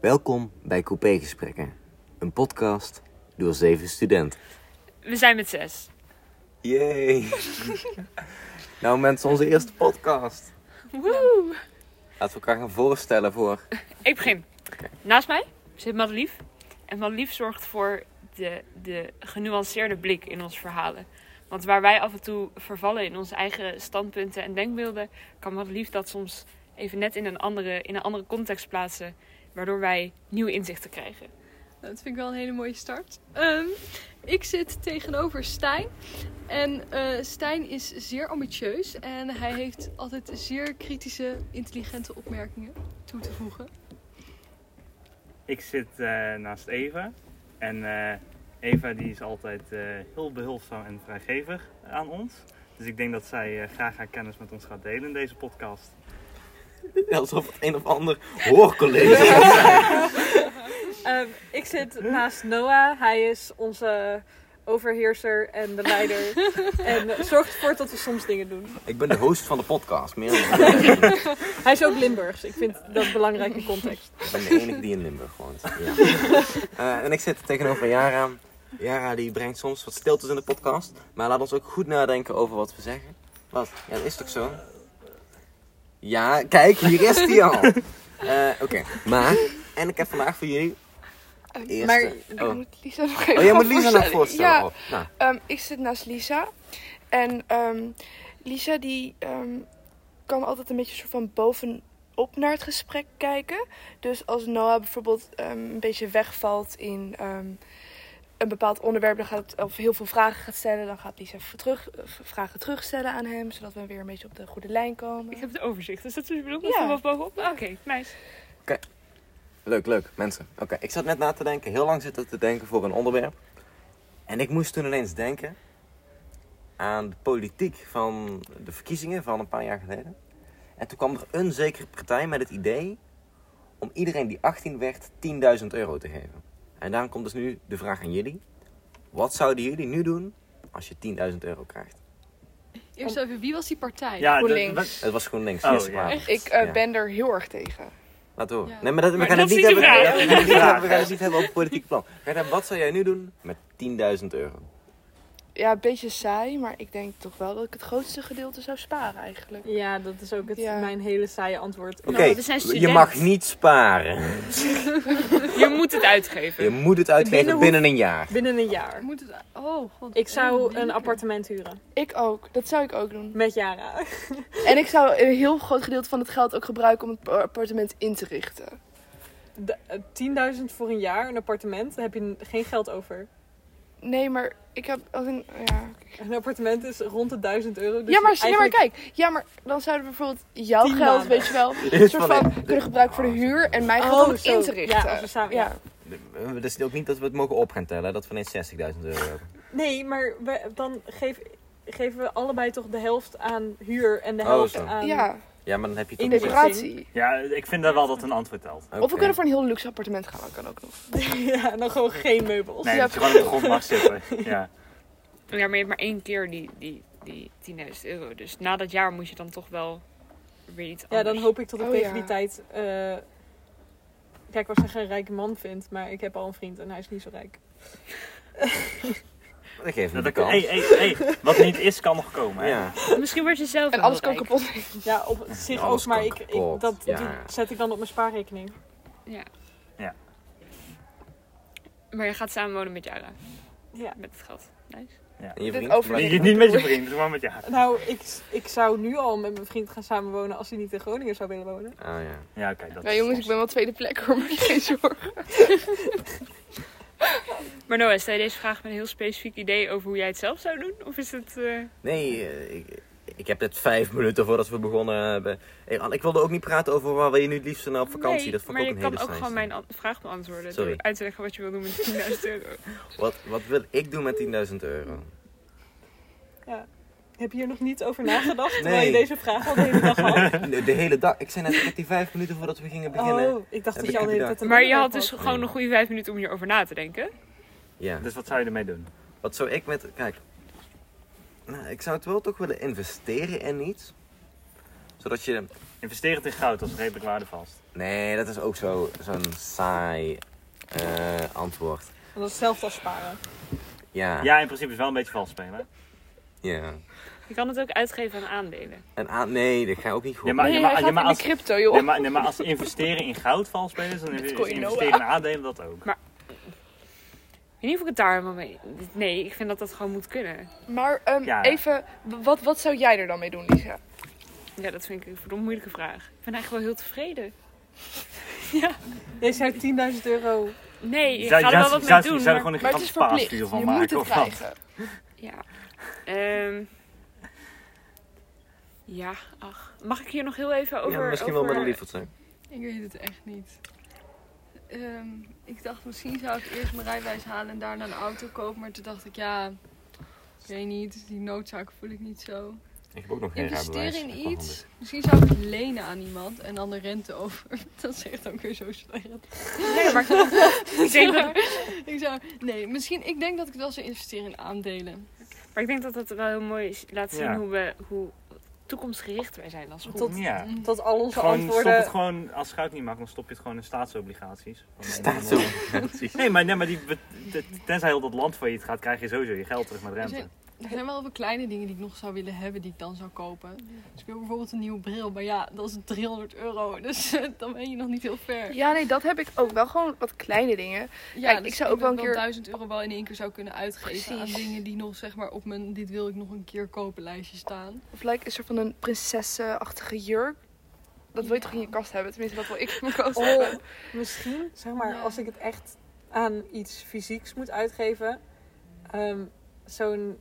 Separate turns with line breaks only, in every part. Welkom bij Coupé Gesprekken, een podcast door zeven studenten.
We zijn met zes.
Yay! nou mensen, onze eerste podcast.
Woe!
Laten we elkaar gaan voorstellen voor...
Ik begin. Naast mij zit Madelief. En Madelief zorgt voor de, de genuanceerde blik in ons verhalen. Want waar wij af en toe vervallen in onze eigen standpunten en denkbeelden, kan Madelief dat soms even net in een andere, in een andere context plaatsen. Waardoor wij nieuwe inzichten krijgen.
Nou, Dat vind ik wel een hele mooie start. Ehm, ik zit tegenover Stijn. En eh, Stijn is zeer ambitieus. En hij heeft altijd zeer kritische, intelligente opmerkingen toe te voegen.
Ik zit eh, naast Eva. En eh, Eva die is altijd eh, heel behulpzaam en vrijgevig aan ons. Dus ik denk dat zij eh, graag haar kennis met ons gaat delen in deze podcast.
Alsof het een of ander hoorcollege is.
Ehm, ik zit naast Noah. Hij is onze overheerser en de leider. en zorgt ervoor dat we soms dingen doen.
Ik ben de host van de podcast, meer dan dat.
Hij is ook Limburgs. Ik vind dat belangrijk in context.
Ik ben de enige die in Limburg woont. Ja. Eh, en ik zit tegenover Jara. Jara die brengt soms wat stiltes in de podcast. Maar laat ons ook goed nadenken over wat we zeggen. Wat? Ja, dat is toch zo? Ja, kijk, hier is die al. Eh, Oké, maar. En ik heb vandaag voor jullie. Eerste.
Maar
oh.
ik moet Lisa nog even
Oh, jij moet Lisa nog voorstellen.
Ja,
Oh, nou,
ehm, ik zit naast Lisa. En ehm, Lisa die ehm, kan altijd een beetje soort van bovenop naar het gesprek kijken. Dus als Noah bijvoorbeeld ehm, een beetje wegvalt in ehm, een bepaald onderwerp, dan gaat, of heel veel vragen gaat stellen, dan gaat Lisa voor terug, eh, vragen terugstellen aan hem, zodat we weer een beetje op de goede lijn komen.
Ik heb het overzicht. Is dat wat je bedoelt? Dat
Ja.
Van bovenop? Oké, nice.
leuk, leuk, mensen. Oké, ik zat net na te denken. Heel lang zitten te denken voor een onderwerp. En ik moest toen ineens denken aan de politiek van de verkiezingen van een paar jaar geleden. En toen kwam er een zekere partij met het idee om iedereen die 18 werd 10.000 euro te geven. En daarom komt dus nu de vraag aan jullie. Wat zouden jullie nu doen als je 10.000 euro krijgt?
Eerst even, wie was die partij?
Ja, de-
GroenLinks.
wat-
Het was GroenLinks.
Oh,
links.
ja.
Ik eh,
Ja.
ben er heel erg tegen.
Laat horen.
Ja.
Nee, maar dat, we
Maar
gaan het
dat
niet
is niet
hebben.
de
We
vraag.
gaan het niet
Ja.
hebben- we gaan het niet hebben over politiek plan. Gerda, wat zou jij nu doen met 10.000 euro?
Ja, een beetje saai, maar ik denk toch wel dat ik het grootste gedeelte zou sparen eigenlijk.
Ja, dat is ook het,
Ja.
mijn hele saaie antwoord.
Oké,
Nou, we zijn
je
student.
mag niet sparen.
Je moet het uitgeven.
Je moet het uitgeven binnen,
Binnen hoe-
een jaar.
Binnen een
Ik
jaar.
Moet het, oh, god.
Ik zou een
apart.
appartement huren.
Ik ook, dat zou ik ook doen.
Met Jara.
En ik zou een heel groot gedeelte van het geld ook gebruiken om het appartement in te richten.
De- eh, 10.000 voor een jaar, een appartement. Daar heb je n- geen geld over.
Nee, maar ik heb. als in- ja.
Een appartement is rond de 1000 euro. Dus
ja, maar, nee, maar
eigenlijk-
kijk. Ja, maar dan zouden we bijvoorbeeld jouw
Tien
geld,
maanden.
weet je wel,
Dit
een
is
soort
van-
van kunnen gebruiken voor de huur en mijn geld
Oh,
om het
zo.
in te richten.
Ja, als we samen-
Ja.
Eh, Dat is ook niet dat we het mogen op gaan tellen, dat we ineens 60.000 euro hebben.
Nee, maar we- dan geef, geven we allebei toch de helft aan huur en de
Oh,
helft
zo.
aan...
Ja,
Ja, maar dan heb je toch
In
niet-
de-
decoratie.
Ja, ik vind dat wel dat een antwoord telt.
Oké.
Of we kunnen voor een heel luxe appartement gaan, dat kan ook nog.
Ja, en dan gewoon geen meubels.
Nee,
Ja,
dat je gewoon op de grond mag zitten. Ja.
Ja, maar je hebt maar één keer die, die, die 10.000 euro. Dus na dat jaar moet je dan toch wel weer iets
Ja,
anders.
dan hoop ik dat ik
Oh,
tegen
ja.
die tijd... eh, kijk, was ik een rijke man vind, maar ik heb al een vriend en hij is niet zo rijk.
Dat geeft niet
Dat
de
ik,
kans.
hey, hey, hey, wat niet is, kan nog komen. Hè?
Ja.
Misschien word je zelf
En
wel
alles kan
rijk.
kapot.
Ja, op zich
Alles
ook, maar
kan
ik, ik-
kapot,
dat
ja.
die zet ik dan op mijn spaarrekening.
Maar je gaat samen wonen met Jara.
Ja.
Met het geld. Nice.
En je
Dit
vriend? Oh,
over-
Nee, niet met je vrienden, maar met je haar.
Nou, ik, ik zou nu al met mijn vriend gaan samenwonen als hij niet in Groningen zou willen wonen.
Ah ja.
Ja, oké. dat
Nou
is
jongens, ik
soms.
ben wel tweede plek hoor, maar geen zorgen.
Maar Noah, stel je deze vraag met een heel specifiek idee over hoe jij het zelf zou doen? Of is het... eh,
Nee, eh, ik, ik heb net vijf minuten voordat we begonnen. hebben. Hey, Anne, ik wilde ook niet praten over waar wil je nu het liefst naar op vakantie.
nee,
dat vond
maar
ik ook
je
een
kan
hele
ook
saaie
gewoon
stelling.
mijn an- vraag beantwoorden.
Sorry.
Door uit te leggen wat je wil doen met 10.000 euro.
Wat, wat wil ik doen met 10.000 euro?
Heb je hier nog niet over nagedacht terwijl
Nee.
je deze vraag al de hele dag
Oh.
had?
De, de hele dag. Ik zei net met die vijf minuten voordat we gingen beginnen.
Oh, ik dacht
Heb
dat
ik
je al de hele
bedacht.
tijd een
Maar je
onderwerp
had dus gewoon een goede vijf minuten om hierover na te denken.
Ja.
Dus wat zou je ermee doen?
Wat zou ik met. Kijk. Nou, ik zou het wel toch willen investeren in iets. Zodat je...
Investeer het in goud, dat is redelijk waardevast.
Nee, dat is ook zo- zo'n saai eh, antwoord.
Dat is hetzelfde als sparen.
Ja.
Ja, in principe is wel een beetje vals spelen.
ja.
Je kan het ook uitgeven aan aandelen.
En aan... Nee, dat ga ik ook niet goed.
Ja, maar-
nee,
maar-
hij
ja,
gaat
maar
in de
als-
crypto, joh.
Nee, maar, nee, maar als investeren in goud vals spelen is, dan is
Bitcoin,
investeren in aandelen dat ook.
Ik weet niet of ik het daar helemaal mee... Nee, ik vind dat dat gewoon moet kunnen.
Maar ehm,
Ja.
even, w- wat, wat zou jij er dan mee doen, Lisa?
Ja, dat vind ik een verdomd moeilijke vraag. Ik ben eigenlijk wel heel tevreden.
Jij zei 10.000 euro.
Nee, ik
Zou-
ga er
zou-
wel wat mee
zou-
doen.
Zou je
maar-
gewoon een
Maar het is
gigantische
verplicht.
paasvuur
Je
van
moet
maken
het
of wat?
krijgen.
Ja. Ehm, ja, ach. Mag ik hier nog heel even over...
Ja, misschien
over...
wel met een liefde zijn.
Ik weet het echt niet. Ehm, ik dacht misschien zou ik eerst mijn rijbewijs halen en daarna een auto kopen. Maar toen dacht ik ja, ik weet niet. Die noodzaak voel ik niet zo.
Ik heb ook nog geen rijbewijs.
Investeren
Ik
in
mag
iets. Misschien zou ik het lenen aan iemand en dan de rente over. Dat zegt ook weer zo slecht.
Nee, maar ik, denk dat,
Ik zou, nee, misschien, ik denk dat ik wel zou investeren in aandelen.
maar ik denk dat dat wel heel mooi is. laat zien
Ja.
hoe, we, hoe toekomstgericht wij zijn als groep.
Tot-
Ja.
Dat al onze
Gewoon stop
antwoorden.
het gewoon, als goud niet mag, dan stop je het gewoon in staatsobligaties.
Staatsobligaties.
Nee, maar, nee, maar die, bet- te- tenzij heel dat land failliet gaat, krijg je sowieso je geld terug met rente.
zijn- Er zijn wel heel veel kleine dingen die ik nog zou willen hebben die ik dan zou kopen. Dus ik wil bijvoorbeeld een nieuwe bril, maar ja, dat is 300 euro. Dus eh, dan ben je nog niet heel ver.
Ja, nee, dat heb ik ook. Wel gewoon wat kleine dingen.
Ja,
ik zou ook wel een keer-
1000 euro wel in één keer zou kunnen uitgeven
Precies.
aan dingen die nog zeg maar op mijn dit wil ik nog een keer kopen lijstje staan.
Of lijkt een soort van een prinsessenachtige jurk. Dat wil je toch in je kast hebben? Tenminste, dat wil ik in mijn kast
Oh,
hebben.
misschien, zeg maar,
Ja.
als ik het echt aan iets fysieks moet uitgeven. ehm, Zo'n.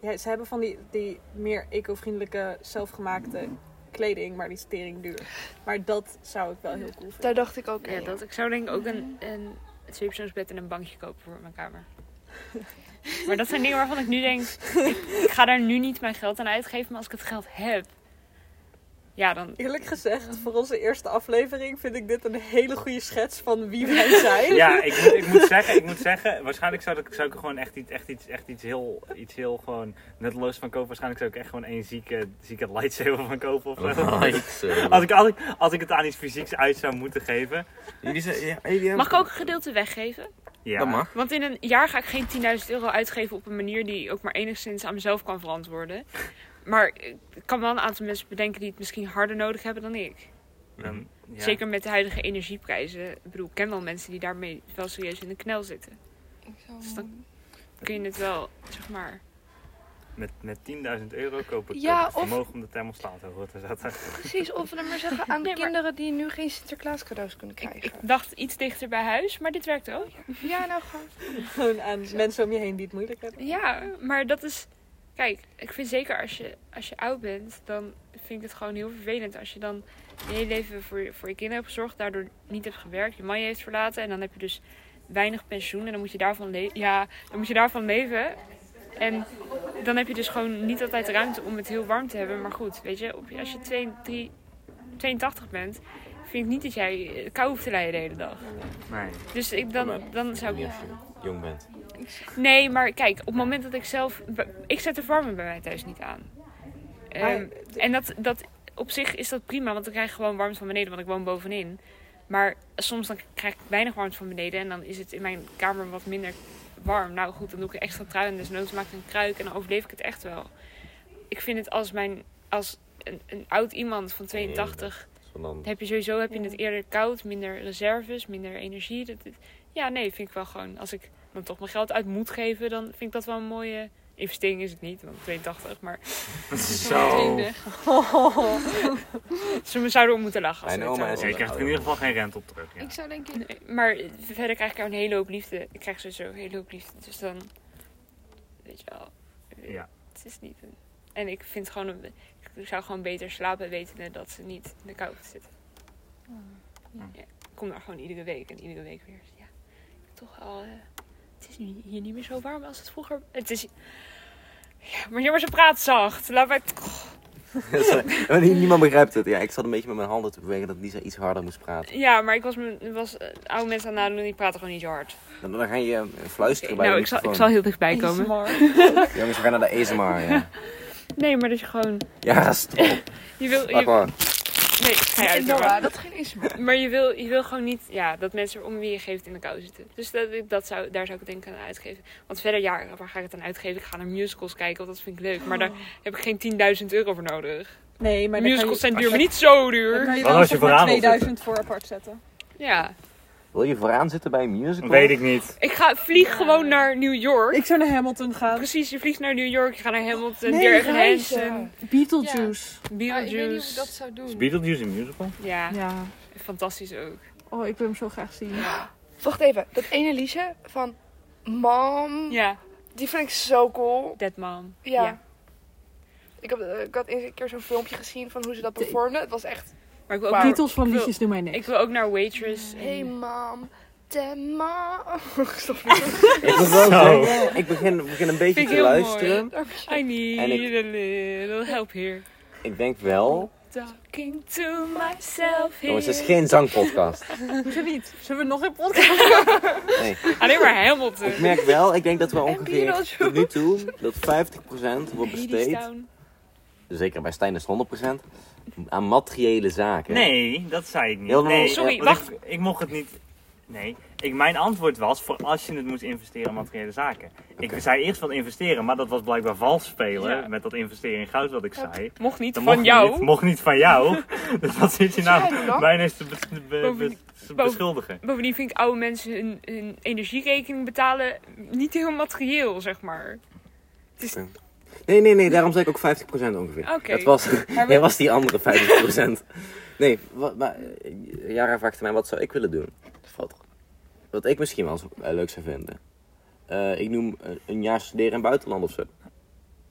Ja, ze hebben van die, die meer eco-vriendelijke, zelfgemaakte kleding, maar die is tering duur. Maar dat zou ik wel heel cool vinden.
Daar dacht ik ook
Ja,
aan,
dat, ik zou denk ik ook een, een bed en een bankje kopen voor mijn kamer. maar dat zijn dingen waarvan ik nu denk, ik, ik ga daar nu niet mijn geld aan uitgeven. Maar als ik het geld heb, ja dan...
Eerlijk gezegd, voor onze eerste aflevering vind ik dit een hele goede schets van wie wij zijn.
Ja, ik moet, ik moet zeggen, ik moet zeggen, waarschijnlijk zou, ik, zou ik er gewoon echt iets, echt iets, echt iets heel, iets heel gewoon nutteloos van kopen. Waarschijnlijk zou ik echt gewoon één zieke, zieke lightsaber van kopen of zo.
honden. Lightsaber.
Als ik, als, ik, als ik het aan iets fysieks uit zou moeten geven.
Jullie zijn- ja, jullie hebben-
Mag ik ook een gedeelte weggeven?
Ja.
Dat mag.
Want in een jaar ga ik geen 10.000 euro uitgeven op een manier die ook maar enigszins aan mezelf kan verantwoorden. Maar ik kan wel een aantal mensen bedenken die het misschien harder nodig hebben dan ik.
Dan- ja.
Zeker met de huidige energieprijzen. Ik bedoel, ik ken wel mensen die daarmee wel serieus in de knel zitten.
Ik zou
Dus dan kun je het wel, zeg maar.
Met, met 10.000 euro koop ik
Ja,
koop ik
of-
het vermogen om de thermostaat hoger te zetten.
Precies, of we dan maar zeggen aan
Nee, maar-
kinderen die nu geen Sinterklaas cadeaus kunnen
Ik,
krijgen.
ik dacht iets dichter bij huis, maar dit werkt ook.
Ja, nou gewoon.
Gewoon aan mensen om je heen die het moeilijk hebben.
Ja, maar dat is. Kijk, ik vind zeker als je, als je oud bent, dan vind ik het gewoon heel vervelend. Als je dan je hele leven voor, je- voor je kinderen hebt gezorgd, daardoor niet hebt gewerkt, je man je heeft verlaten en dan heb je dus weinig pensioen en dan moet je daarvan, le ja, dan moet je daarvan leven. En dan heb je dus gewoon niet altijd ruimte om het heel warm te hebben. Maar goed, weet je, op, je- als je twee, drie- 82 bent, vind ik niet dat jij eh, kou hoeft te lijden de hele dag.
Nee.
Dus ik, dan, dan zou ik
Niet als je jong bent.
Nee, maar kijk, op het moment dat ik zelf. Ik zet de verwarming bij mij thuis niet aan. Ehm, en dat, dat op zich is dat prima, want dan krijg ik gewoon warmte van beneden, want ik woon bovenin. Maar soms dan krijg ik weinig warmte van beneden en dan is het in mijn kamer wat minder warm. Nou goed, dan doe ik een extra trui en desnoods maak ik een kruik en dan overleef ik het echt wel. Ik vind het als, mijn, als een, een oud iemand van 82
Dus dan-
dan heb je sowieso heb je het eerder koud, minder reserves, minder energie. Dat, dat- ja, nee, vind ik wel gewoon. Als ik dan toch mijn geld uit moet geven, dan vind ik dat wel een mooie investering. Is het niet, want 82, maar
zo.
ze me zouden om moeten lachen. Als
Mijn
ze dit
oma is
Ja,
zouden
je
horen.
krijgt er in ieder geval geen rente op terug. Ja.
Ik zou denk ik
Nee, Maar verder krijg ik er een hele hoop liefde. Ik krijg sowieso een hele hoop liefde. Dus dan, weet je wel,
Ja.
het is niet een. En ik vind gewoon, een, ik zou gewoon beter slapen wetende dat ze niet in de kou zitten.
ja.
Ja, ik kom daar gewoon iedere week en iedere week weer. Ja, toch al. eh, het is nu hier niet meer zo warm als het vroeger. Het is. Ja, maar jongens, ze praat zacht. Laat maar.
Ja, maar nie- Oh, niemand begrijpt het. Ja, ik zat een beetje met mijn handen te bewegen dat Lisa iets harder moest praten.
Ja, maar ik was, mijn- was eh, oude mensen aan het nadoen die praten gewoon niet zo hard.
Dan, dan ga je eh, fluisteren bij
nou,
de
ik zal, ik zal
microfoon.
heel dichtbij komen.
Smart.
Jongens, we gaan naar de ASMR, ja.
Nee, maar dat je gewoon...
Ja, stop.
Je wil,
Wacht
je,
maar.
nee, ga je uit. hoor.
Noah, Nou, dat ging eens.
Maar je wil, je wil gewoon niet ja, dat mensen om wie je geeft in de kou zitten. Dus dat, dat zou, daar zou ik het denk ik aan uitgeven. Want verder, ja, waar ga ik het aan uitgeven? Ik ga naar musicals kijken, want dat vind ik leuk. Maar daar heb ik geen 10.000 euro voor nodig.
Nee, maar dan kan
musicals
je,
zijn duur, maar niet zo
dan
duur.
kan je
Wat
wel
als je
voor
vooraan wil
2000 voor apart zetten.
Ja.
Wil je vooraan zitten bij een musical?
Weet ik niet.
Ik ga, vlieg gewoon naar New York.
Ik zou naar Hamilton gaan.
Precies, je vliegt naar New York, je gaat naar Hamilton,
Nee, Ah,
Dirk
reizen.
Hansen,
Beetlejuice.
Maar ik weet niet hoe ik
Beetlejuice.
dat zou doen.
Is Beetlejuice een musical?
Ja,
ja.
fantastisch ook.
Oh, ik wil hem zo graag zien.
Wacht even, dat ene liedje van Mom,
Ja,
die vind ik zo cool.
Dead Mom.
Ja. Ik, heb, eh, ik had eens een keer zo'n filmpje gezien van hoe ze dat performden. Het was echt,
Maar ik wil ook,
Wauw.
naar,
Titels van
ik wil-
liedjes doe mij
ik
niks.
wil ook naar Waitress. en-
hey mom, damn mom. Stop niet.
Ik moet wel
Zo.
zeggen, ik begin, begin een beetje
Vind ik
te
heel mooi.
luisteren.
I need
En ik-
a little help here.
Ik denk wel,
Talking to myself here.
dus
jongens, het is geen zangpodcast.
Hoezo niet? Zullen we nog een podcast?
Nee.
Alleen maar Hamilton.
Ik merk wel, ik denk dat we ongeveer
Beetlejuice.
tot nu toe, dat 50% wordt besteed,
Hadestown.
zeker bij Stijn is het 100%, aan materiële zaken.
Nee, dat zei ik niet.
Heel veel-
nee,
Sorry,
want
wacht.
Ik, ik mocht het niet. Nee, ik, mijn antwoord was voor als je het moest investeren in materiële zaken. Ik zei eerst wat investeren, maar dat was blijkbaar vals spelen
Ja.
met dat investeren in goud wat ik zei.
Mocht niet
Dat
van
mocht
jou.
Niet, mocht niet van jou. dus wat zit je nou
Jij dan?
mij ineens te bes- be- be-
Bovendien-
te
boven-
beschuldigen?
Bovendien vind ik oude mensen hun, hun energierekening betalen niet heel materieel, zeg maar.
Nee, nee, nee, daarom zei ik ook 50% ongeveer.
Oké.
Dat was, nee, was die andere 50%. nee, wat, maar eh, Jara vraagt mij, wat zou ik willen doen? Wat, wat ik misschien wel zo- eh, leuk zou vinden. Eh, ik noem eh, een jaar studeren in het buitenland of zo.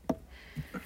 Ah,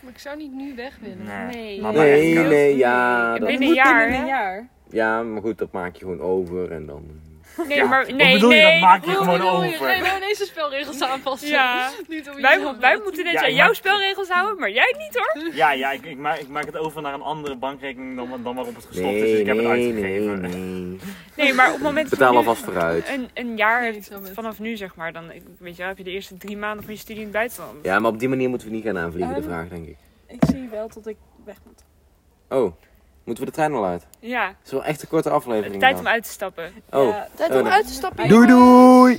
Maar ik zou niet nu weg willen.
Nee.
Mama
Nee,
en Koos.
nee, ja.
Ik
Dat,
ben Binnen een jaar,
Binnen een
hè?
jaar.
ja, maar goed, dat maak je gewoon over en dan...
Nee,
Ja,
maar
wat
nee,
bedoel je,
nee.
dat maak je gewoon
Nee,
over.
we ineens de spelregels aanpassen.
Ja.
Niet om
Wij,
jezelf.
mo- wij moeten net
Ja,
aan
ik
jouw
maak-
spelregels houden, maar jij niet hoor.
Ja, ja ik, ik, maak, ik maak het over naar een andere bankrekening dan, dan waarop het gestopt
Nee,
is. Dus ik heb het
nee,
uitgegeven.
nee, nee.
Nee, maar op het moment dat je
Betaal
nu
alvast vooruit.
een, een jaar
ik snap het.
vanaf nu, zeg maar, dan weet je, wel, heb je de eerste drie maanden van je studie in het buitenland.
Ja, maar op die manier moeten we niet gaan aanvliegen, de
Ehm.
vraag, denk ik.
Ik zie wel dat ik weg moet.
Oh, moeten we de trein al uit? Het
Ja,
is wel echt een korte aflevering.
tijd
dan.
om uit te stappen.
Oh,
Ja,
Tijd
Oh,
om
nee.
uit te stappen.
doei doei!